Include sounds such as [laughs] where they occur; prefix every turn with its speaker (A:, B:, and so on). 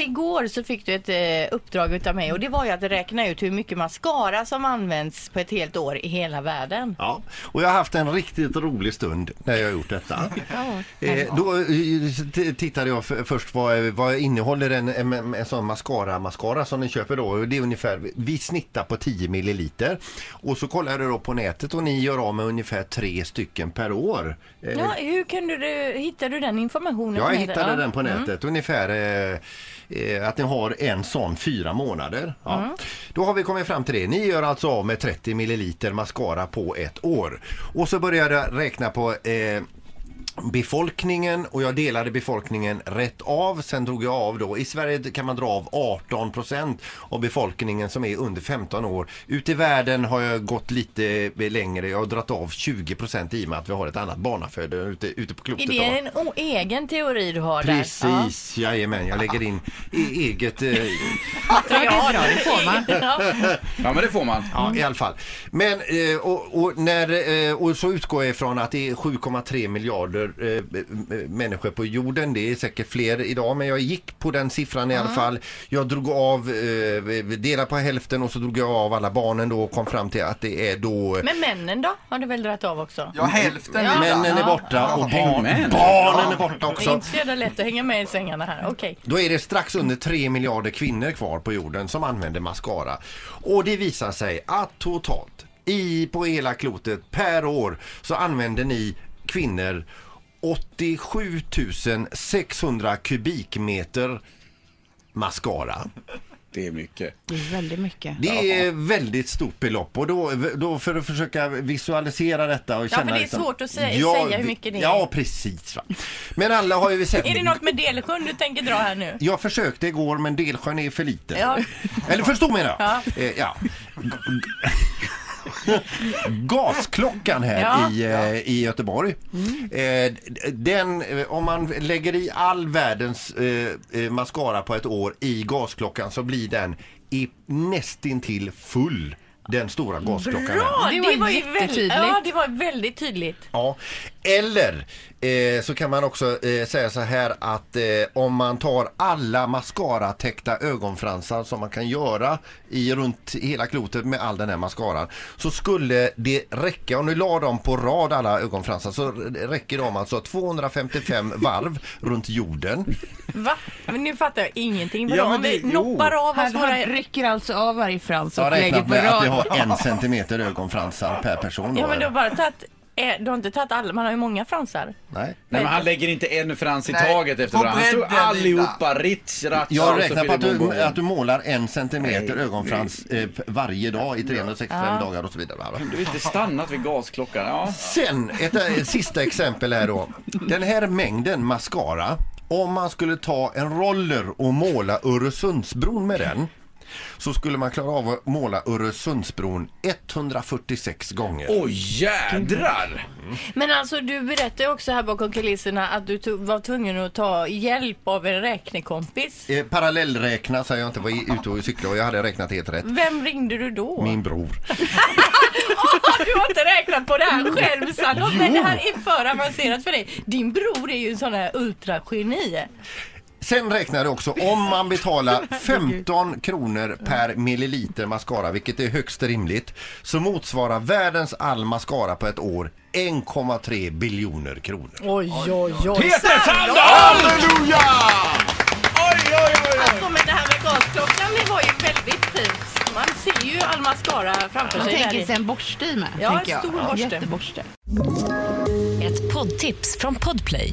A: Igår så fick du ett eh, uppdrag utav mig och det var ju att räkna ut hur mycket mascara som används på ett helt år i hela världen.
B: Ja, och jag har haft en riktigt rolig stund när jag har gjort detta. eh, då eh, t- tittade jag f- först vad, vad innehåller en, en, en sån mascara, mascara som ni köper då. Det är ungefär, vi snittar på 10 milliliter. Och så kollade jag då på nätet och ni gör av med ungefär tre stycken per år. Eh,
A: Ja, hur kan du, du, hittar du den informationen?
B: jag
A: på nätet?
B: hittade
A: Ja. Mm.
B: den på nätet. Ungefär eh, eh, att ni har en sån fyra månader. Ja.
A: Mm.
B: Då har vi kommit fram till det. Ni gör alltså av med 30 milliliter mascara på ett år. Och så började jag räkna på eh, befolkningen och jag delade befolkningen rätt av. Sen drog jag av då, i Sverige kan man dra av 18 procent av befolkningen som är under 15 år. Ute i världen har jag gått lite längre, jag har dragit av 20 procent i och med att vi har ett annat barnafödande ute, ute på
A: Är
B: klotet. då.
A: det en o- egen teori du har där? Ja.
B: Precis, jajamän. Jag lägger in i eget... Eh,
A: Ja, det får [laughs] man.
C: Ja, men det får man.
B: ja, i alla fall. Men, eh, och, och, när, eh, och så utgår jag ifrån att det är 7,3 miljarder eh, eh, människor på jorden. Det är säkert fler idag, men jag gick på den siffran i alla fall. Jag drog av, eh, delade på hälften och så drog jag av alla barnen då och kom fram till att det är då...
A: Men männen då? Har du väl dragit av också?
C: Ja, hälften.
A: Ja.
B: Männen är borta och
C: Häng
B: barn,
C: med.
B: barnen är borta
A: Det är
B: också.
A: inte så jävla lätt att hänga med i svängarna här. Okej.
B: Då är det strax under 3 miljarder kvinnor kvar på jorden som använder mascara. Och det visar sig att totalt i, på hela klotet per år så använder ni kvinnor 87 600 kubikmeter mascara.
C: Det är mycket.
D: Det är väldigt mycket.
B: Det är väldigt stort belopp och då, då för att försöka visualisera detta och
A: Ja,
B: känna
A: för det är
B: liksom-
A: svårt att sä- säga hur mycket det är.
B: Ja, precis. Va? Men alla har ju
A: [laughs]
B: sett
A: Är det något med Delsjön du tänker dra här nu?
B: jag försökte igår men delsjön är för liten.
A: Ja.
B: Eller för stor menar jag.
A: Ja.
B: Eh, ja. Gasklockan här
A: Ja.
B: i, eh, i Göteborg. Eh, d- den, eh, om man lägger i all världens eh, eh, mascara på ett år i gasklockan så blir den i, nästintill full. Den stora gasklockan. här.
A: Bra!
D: Det
A: Det
D: var
A: var, ju väldigt,
D: jättetydligt.
A: ja, det var väldigt tydligt.
B: Ja, eller eh, så kan man också eh, säga så här att eh, om man tar alla mascaratäckta ögonfransar som man kan göra i runt hela klotet med all den här mascaran så skulle det räcka, om du la dem på rad alla ögonfransar så räcker de alltså 255 varv runt jorden.
A: Va? Men nu fattar jag ingenting.
C: Ja,
A: Ja,
C: men
A: om vi
C: det- jo.
A: noppar av oss
D: Han,
A: våra...
D: han rycker alltså av varje frans
B: Jag har
D: och lägger
B: räknat
D: på
B: med att vi
D: rad.
B: har en centimeter ögonfransar per person. då,
A: Ja, men du har
B: eller?
A: bara tagit... eh, Du har inte tagit alla, man har ju många fransar.
B: Nej.
C: Nej, men han lägger inte en frans i
E: Nej,
C: taget efter
E: på
C: varandra. Han tog
E: bredden,
C: allihopa, Ritz, Ratsa och
B: Jag
C: så
B: räknar på att
C: Philip Bongo.
B: du, att du målar en centimeter ögonfrans eh, p- varje dag i 365 dagar och så vidare. va?
C: Du har inte stannat vid gasklockan. Ja.
B: Sen ett, ett sista exempel här då. Den här mängden mascara, om man skulle ta en roller och måla Öresundsbron med den så skulle man klara av att måla Öresundsbron 146 gånger.
C: Oj jädrar!
A: Men alltså du berättade ju också här bakom kulisserna att du tog, var tvungen att ta hjälp av en räknekompis.
B: Eh, parallellräkna så jag inte var i- ute och cyklade och jag hade räknat helt rätt.
A: Vem ringde du då?
B: Min bror.
A: [laughs] Du har inte räknat på det här själv Sandra, men det här är för avancerat för dig. Din bror är ju en sån här ultrageni.
B: Sen räknar det också om man betalar 15 kronor per milliliter mascara, vilket är högst rimligt, så motsvarar världens all mascara på ett år 1,3 biljoner kronor.
A: Oj, oj, oj.
C: Peter Sandahl!
B: Halleluja!
C: Oj, oj, oj, oj!
A: Alltså men det här med gasklockan, det var ju väldigt fint. Man ser ju all mascara framför
D: Jag
A: sig. där
D: tänker
A: i.
D: sig en borste i med.
A: Ja,
D: tänker jag.
A: en stor borste.
D: Jätteborste.
F: Ett poddtips från Podplay.